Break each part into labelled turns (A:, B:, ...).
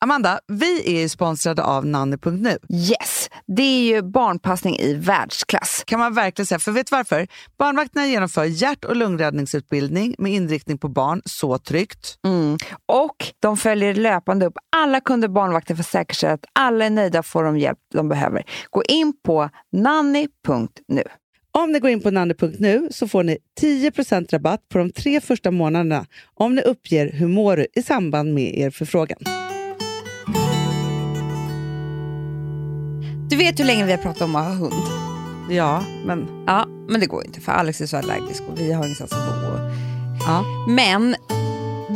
A: Amanda, vi är ju sponsrade av nanny.nu.
B: Yes, det är ju barnpassning i världsklass.
A: Kan man verkligen säga, för vet du varför? Barnvakterna genomför hjärt och lungräddningsutbildning med inriktning på barn, så tryggt.
B: Mm. Och de följer löpande upp alla kunder barnvakten för att säkerställa att alla är nöjda och får de hjälp de behöver. Gå in på nanny.nu.
A: Om ni går in på nanny.nu så får ni 10% rabatt på de tre första månaderna om ni uppger hur mår du i samband med er förfrågan.
B: Du vet hur länge vi har pratat om att ha hund?
A: Ja, men...
B: Ja, men det går inte för Alex är så allergisk och vi har ingenstans att bo.
A: Ja.
B: Men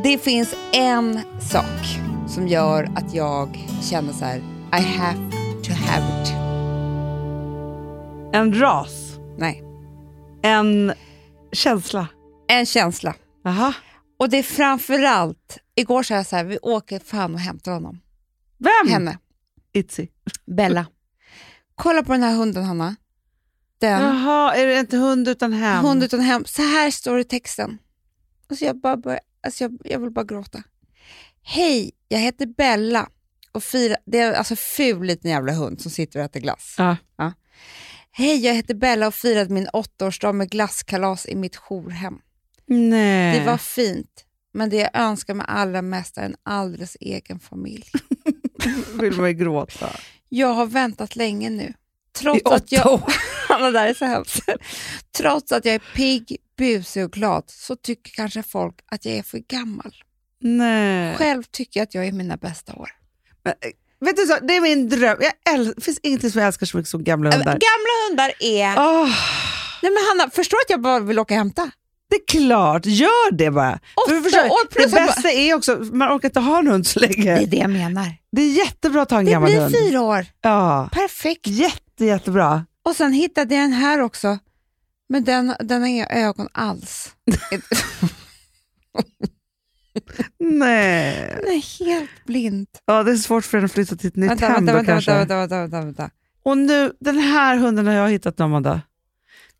B: det finns en sak som gör att jag känner så här, I have to have it.
A: En ras.
B: Nej,
A: En känsla.
B: en känsla.
A: Aha.
B: Och det är framförallt, igår sa jag så här, vi åker fan och hämtar honom.
A: Vem?
B: Henne,
A: Itzy.
B: Bella. Kolla på den här hunden Hanna. Den,
A: Jaha, är det inte hund utan hem?
B: hund utan hem. Så här står det i texten. Alltså jag, bara börjar, alltså jag, jag vill bara gråta. Hej, jag heter Bella och fira, det är alltså ful liten jävla hund som sitter och äter glass.
A: Ja.
B: Hej, jag heter Bella och firade min åttaårsdag med glasskalas i mitt jourhem.
A: Nej.
B: Det var fint, men det jag önskar mig allra mest är en alldeles egen familj.
A: vill man ju gråta.
B: Jag har väntat länge nu. Trots
A: I åtta
B: att jag... Alla där är så hemskt. Trots att jag är pigg, busig och glad så tycker kanske folk att jag är för gammal.
A: Nej.
B: Själv tycker jag att jag är i mina bästa år.
A: Men, eh, vet du så, det är min dröm. Jag äl- det finns ingenting som jag älskar så mycket som gamla
B: Äh, men
A: hundar. Ah.
B: Gamla hundar är...
A: Åh,
B: Nej men Hanna, förstår att jag bara vill åka och hämta?
A: det är klart, gör det bara. För
B: Åtta
A: förstår-
B: år plus
A: det
B: att bara-
A: bästa är också, man orkar inte ha en hund så
B: Det är
A: länge.
B: det jag menar.
A: Det är jättebra att ha en
B: Det
A: gammal
B: blir
A: hund.
B: fyra år.
A: Ja,
B: Perfekt.
A: jätte, jättebra.
B: Och sen hittade jag den här också, men den, den har inga ögon alls.
A: Nej.
B: Den är helt blind.
A: Ja, det är svårt för henne att flytta till ett nytt
B: Vänta,
A: hem
B: vänta,
A: då
B: vänta,
A: kanske.
B: vänta, vänta, vänta, vänta, vänta.
A: Och nu, den här hunden har jag hittat någon dag.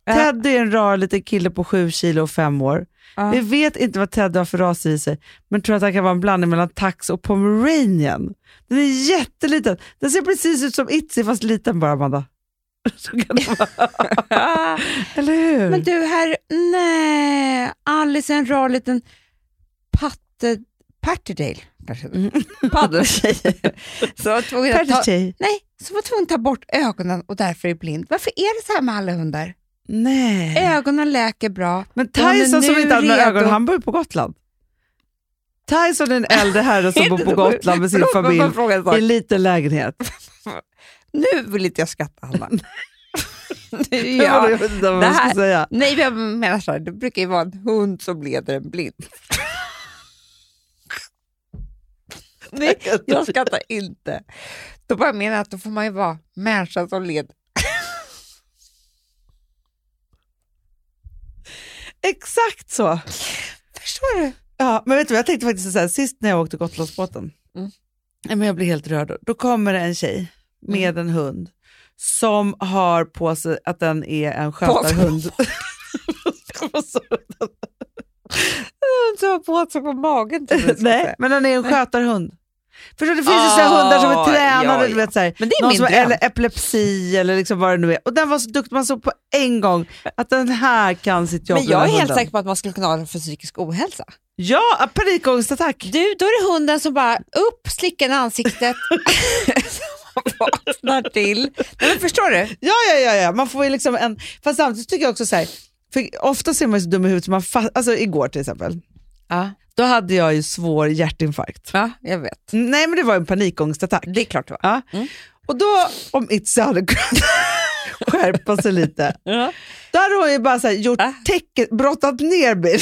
B: Ja.
A: Teddy är en rar liten kille på sju kilo och fem år.
B: Ja.
A: Vi vet inte vad Teddy har för ras i sig, men tror att han kan vara en blandning mellan tax och pomeranian. Den är jätteliten. Den ser precis ut som Itzy fast liten bara, Amanda. Så kan det vara.
B: Ah,
A: Eller hur?
B: men du, här, nej, Alice är en rar liten patte, Patterdale kanske.
A: Mm.
B: Paddeltjej. Så var tvungen att ta,
A: Percy.
B: nej, så var tvungen att ta bort ögonen och därför är blind. Varför är det så här med alla hundar?
A: Nej.
B: Ögonen läker bra.
A: Men
B: Hon är
A: Tyson som
B: nu
A: inte hade några
B: redo.
A: ögon, han bor ju på Gotland. Tyson är en äldre herre som bor på
B: Förlåt,
A: Gotland med sin
B: får jag bara
A: familj
B: fråga en sak?
A: i en liten lägenhet.
B: Nu vill inte jag skratta, Hanna. Nu
A: Ja,
B: gör jag-
A: jag vet inte vad
B: det
A: man ska
B: här-
A: säga.
B: Nej, men jag menar så här, det brukar ju vara en hund som leder en blind. Nej, jag skrattar inte. Då bara menar jag att då får man ju vara människa som leder.
A: Exakt så.
B: Förstår du?
A: Ja, men vet du vad, jag tänkte faktiskt så här, sist när jag åkte Gotlandsbåten,
B: Mm.
A: Nej, men jag blev helt rörd. Då kommer det en tjej med
B: Mm.
A: en hund som har på sig att den är en skötarhund. Vad sa du?
B: Du har på sig på magen. tror jag.
A: Nej, men den är en skötarhund. Förstår du, det finns ju
B: Ah,
A: sådana hundar som är tränade,
B: ja,
A: du vet så här,
B: Men det är
A: någon
B: min
A: som har
B: dröm.
A: eller epilepsi eller liksom vad det nu är. Och den var så duktig, man såg på en gång att den här kan sitt jobb.
B: Men
A: den
B: jag är
A: här
B: helt
A: hunden.
B: säker på att man skulle kunna ha det för psykisk ohälsa.
A: Ja, panikångestattack.
B: Du, då är det hunden som bara upp, slickar i ansiktet, som vaknar till. Nej, men förstår du?
A: Ja, ja, ja, ja. Man får ju liksom en... Fast samtidigt tycker jag också så här, för ofta ser man ju så dum i huvudet, så man fa- alltså igår till exempel,
B: Ja,
A: då hade jag ju svår hjärtinfarkt.
B: ja jag vet.
A: Nej, men det var en panikångestattack.
B: Det är klart det var.
A: Ja.
B: Mm.
A: Och då, om Itzy hade kunnat skärpa sig lite, då hade hon ju bara så här, gjort
B: Ah.
A: tecken, brottat ner mig.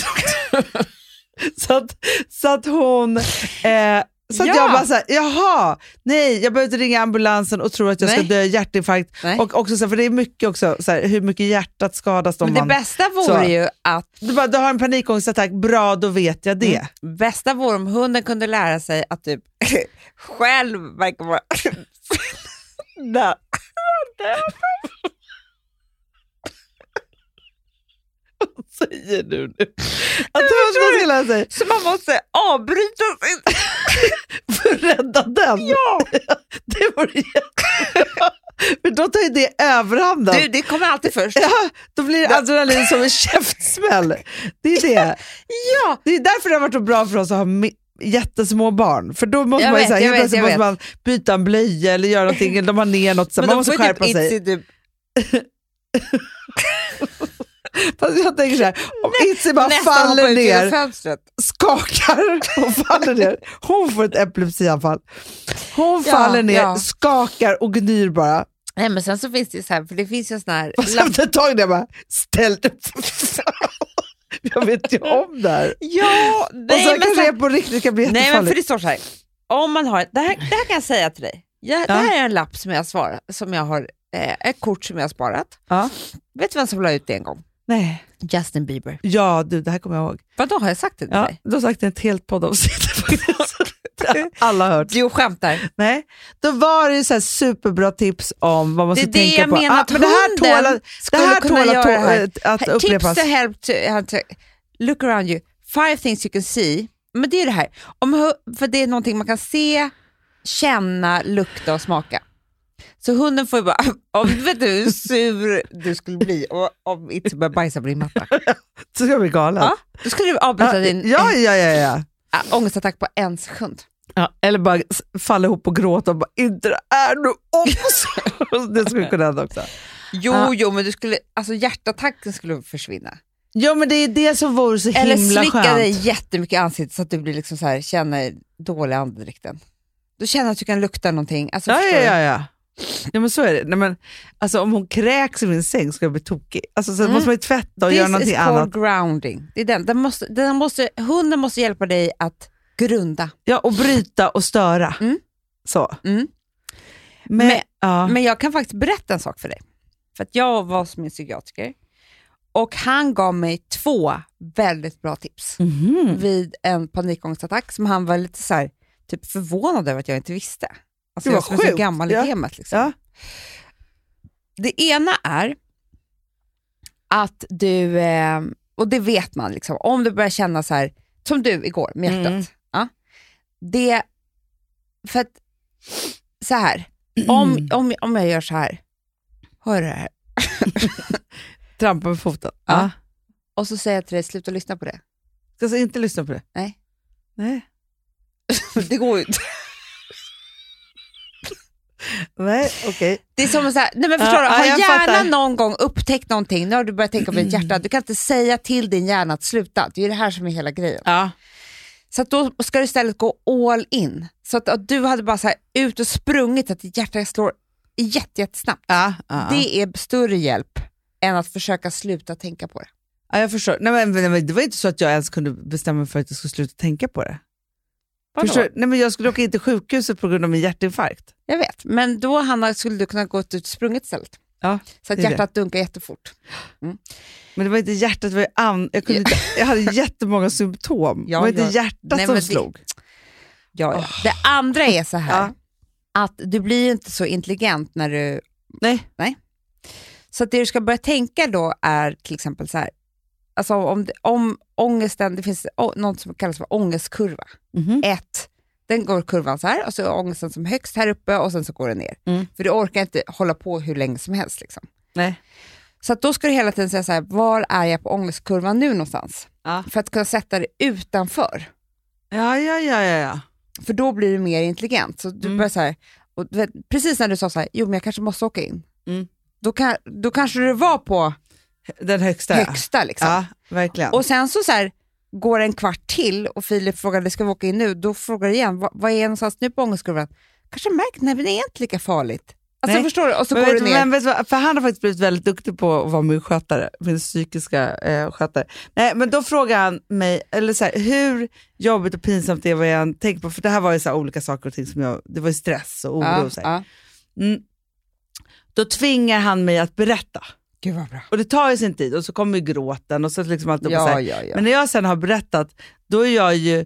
A: så, att, så att hon... Eh, så att
B: Ja.
A: jag bara såhär, jaha, nej jag behöver inte ringa ambulansen och tro att jag
B: Nej.
A: ska dö i hjärtinfarkt.
B: Nej.
A: Och också så här, för det är mycket också, så här, hur mycket hjärtat skadas om
B: Men det
A: man...
B: bästa vore
A: Så.
B: ju att
A: Du, bara, du har en panikångestattack, bra då vet jag det.
B: bästa vore om hunden kunde lära sig att typ själv verkar vara... Mm. Nej.
A: säger du nu? Att hundarna skulle ha sig
B: Så man måste avbryta sin...
A: för att rädda den?
B: Ja!
A: Det vore jättebra. För då tar ju det överhanden.
B: Du, det kommer alltid först.
A: Ja, då blir det adrenalin som en käftsmäll. Det är det.
B: Ja!
A: Det är därför det har varit så bra för oss att ha mi- jättesmå barn. För då måste
B: Jag
A: man ju
B: vet,
A: så här,
B: jag
A: helt
B: vet,
A: plötsligt
B: jag
A: måste man byta en blöja eller göra någonting, eller de har ner något, så man måste skärpa sig.
B: Typ
A: Fast jag tänker så här, om Itzy bara
B: nästan hoppa
A: faller
B: ut genom
A: ner,
B: fönstret.
A: skakar och faller ner. Hon får ett epilepsianfall. Hon
B: Ja,
A: faller ner,
B: ja.
A: skakar och gnyr bara.
B: Nej men sen så finns det ju så här, för det finns ju en sån här...
A: Fast efter ett tag när jag bara, ställ dig upp. Jag vet ju om det här.
B: Ja,
A: och sen kanske det på riktigt kan bli
B: Nej,
A: jättefarligt.
B: men för det står så här. Om man har, det, här, det här kan jag säga till dig. Jag, Det
A: Ja.
B: här är en lapp som jag, svarar, som jag har, eh, ett kort som jag har sparat.
A: ja.
B: Vet du vem som la ut det en gång?
A: Nej.
B: Justin Bieber.
A: ja, du, det här kommer jag ihåg.
B: Vadå, har jag sagt det till
A: Ja,
B: dig?
A: du har sagt ett helt poddavsnitt faktiskt. Alla har hört.
B: Du skämtar.
A: Nej. Då var det ju så här superbra tips om vad man
B: Det är
A: ska
B: det
A: tänka
B: jag
A: på. ah,
B: menar, att
A: men det här
B: hunden
A: tål att, det
B: skulle
A: här
B: kunna
A: tål
B: göra
A: att,
B: det här.
A: tå- eh, att
B: Tips
A: upprepas.
B: to help to, help to look around you. Five things you can see. Men det är det här, om, hu- för det är någonting man kan se, känna, lukta och smaka. Så hunden får ju bara, om, vet du hur sur du skulle bli om- om inte började bajsa på din matta?
A: Så ska jag bli galen.
B: Ja, då skulle du avbryta
A: Ja,
B: din
A: ja, ja, ja, ja.
B: äh, ångestattack på en sekund.
A: Eller bara s- falla ihop och gråta och bara inte det är nu oss. det skulle kunna hända också.
B: Jo,
A: Ja.
B: jo, men du skulle, alltså hjärtattacken skulle försvinna.
A: Ja men det är det som vore så
B: Eller
A: himla
B: slicka dig
A: skönt.
B: jättemycket i ansiktet så att du blir liksom så här, känner dålig andedräkten. Du känner att du kan lukta någonting. Alltså,
A: Ja, ja,
B: förstår du?
A: ja, ja. ja men så är det. Nej, men, alltså, om hon kräks i min säng ska jag bli tokig. Alltså, sen
B: Mm.
A: måste man ju tvätta och
B: This
A: göra
B: is
A: någonting
B: called
A: annat.
B: grounding. Det är den. Den måste, den måste, hunden måste hjälpa dig att grunda.
A: Ja, och bryta och störa.
B: Mm.
A: Så.
B: Mm.
A: Men,
B: Men-
A: ja.
B: Men jag kan faktiskt berätta en sak för dig. För att jag var hos min psykiatriker och han gav mig två väldigt bra tips
A: Mhm.
B: vid en panikångestattack som han var lite så här, typ förvånad över att jag inte visste. Alltså,
A: Det var
B: jag som är så
A: sjukt.
B: gammal i
A: Ja.
B: gamet. Liksom.
A: Ja.
B: Det ena är att du, eh, och det vet man, liksom, om du börjar känna så här, som du igår med hjärtat.
A: Mm.
B: Ja, det, för att, så här,
A: Mm.
B: om, om, om jag gör så här, hör du det här?
A: Trampa med foten.
B: Ja.
A: Ja.
B: Och så säger jag till dig, sluta lyssna på det.
A: Ska alltså inte lyssna på det?
B: Nej.
A: Nej.
B: Det går ju inte.
A: Nej, okej.
B: Det är som så här, nej men förstår
A: Ja,
B: du,
A: ja,
B: har
A: jag
B: hjärnan
A: fattar. Mm.
B: någon gång upptäckt någonting, nu har du börjat tänka på ditt hjärta, du kan inte säga till din hjärna att sluta, det är ju det här som är hela grejen.
A: Ja.
B: Så att då ska du istället gå all in. Så att, att du hade bara så här ut och sprungit att ditt hjärta slår jätte, jättesnabbt.
A: Ja, ja.
B: Det är större hjälp än att försöka sluta tänka på det.
A: ja, jag förstår. Nej, men, nej, men det var inte så att jag ens kunde bestämma mig för att jag skulle sluta tänka på det. Förstår? du? Nej, men jag skulle åka in till sjukhuset på grund av min hjärtinfarkt.
B: Jag vet, men då Hanna skulle du kunna gå ut och sprungit istället.
A: Ja,
B: så att
A: det är
B: hjärtat dunkar jättefort.
A: Men det var inte hjärtat, det var ju an- jag, kunde inte, jag hade jättemånga symptom.
B: Ja,
A: det var inte
B: ja.
A: hjärtat
B: Nej,
A: som
B: men det-
A: slog.
B: Ja, ja. Det andra är så här,
A: Ah. Ja.
B: att du blir ju inte så intelligent när du...
A: Nej.
B: Så att det du ska börja tänka då är till exempel så här, alltså om, om ångesten, det finns å- något som kallas för ångestkurva.
A: Mhm.
B: ett, den går kurvan så här och så är ångesten som högst här uppe och sen så går den ner.
A: Mm.
B: För du orkar inte hålla på hur länge som helst. Liksom.
A: Nej.
B: Så att då ska du hela tiden säga så här, var är jag på ångestkurvan nu någonstans?
A: Ja.
B: För att kunna sätta det utanför.
A: Ja, ja, ja, ja, ja.
B: För då blir du mer intelligent. Så du
A: Mm.
B: börjar så här, och du vet, precis när du sa så här, jo men jag kanske måste åka in.
A: Mm.
B: Då, kan, då kanske du var på
A: Den högsta. ja.
B: högsta liksom.
A: Ja, verkligen.
B: Och sen så, så här, går det en kvart till och Filip frågade ska vi åka in nu? Då frågar du igen, "Va- vad är jag någonstans nu på ångestkurvan? Kanske märkt, nej men det är inte lika farligt. Alltså
A: Nej.
B: förstår du? Och så
A: men
B: går
A: vet,
B: du
A: du-
B: ner.
A: men vet du vad, för han har faktiskt blivit väldigt duktig på att vara min skötare, min psykiska eh, skötare. Nej, men då frågar han mig, eller så här, hur jobbigt och pinsamt det var jag än tänker på, för det här var ju så här olika saker och ting som jag, det var ju stress och oro.
B: ja,
A: och så här.
B: ja.
A: Mm. Då tvingar han mig att berätta.
B: Gud vad bra.
A: Och det tar ju sin tid och så kommer ju gråten och så liksom allt upp och så här.
B: Ja, ja, ja.
A: Men när jag sen har berättat, då är jag ju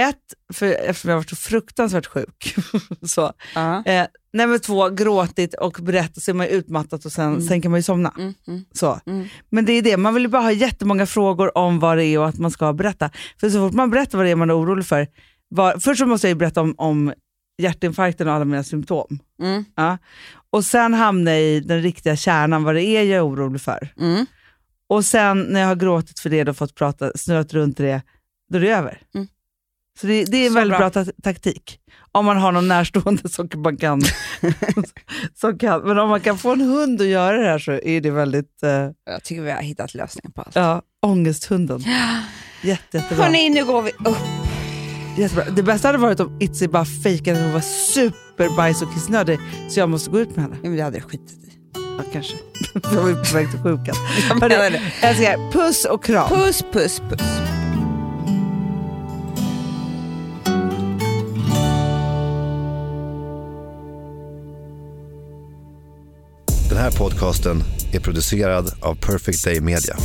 A: Ett, för, eftersom jag har varit så fruktansvärt sjuk. så.
B: Ja.
A: Eh, nej, men två, gråtit och berättat så är man ju utmattad och sen, sen kan man ju somna.
B: Mm, mm,
A: Så.
B: mm.
A: Men det är det, man vill ju bara ha jättemånga frågor om vad det är och att man ska berätta. För så fort man berättar vad det är man är orolig för, vad, först så måste jag ju berätta om, om hjärtinfarkten och alla mina symptom.
B: Mm,
A: Ja. Och sen hamnar jag i den riktiga kärnan, vad det är jag är orolig för.
B: mm,
A: Och sen när jag har gråtit för det och fått prata, snurrat runt det, då är det över.
B: Mm.
A: Så det, det är en
B: Så
A: väldigt bra,
B: bra.
A: ta- taktik. Om man har någon närstående som man kan, som kan... Men om man kan få en hund att göra det här så är det väldigt... Eh,
B: Jag tycker vi har hittat lösningen på allt.
A: ja, ångesthunden. Jätte, jättebra.
B: Hörni, nu går vi upp.
A: jättebra. Det bästa hade varit om Itzy bara fejkade att hon var superbajs och kissnödig så jag måste gå ut med henne.
B: Nej, men det hade jag skitit i.
A: Ja, kanske. jag var ju på väg till sjukan.
B: Jag
A: Hörni,
B: menar det.
A: Älskar, puss och kram.
B: Puss, puss, puss.
C: Den här podcasten är producerad av Perfect Day Media.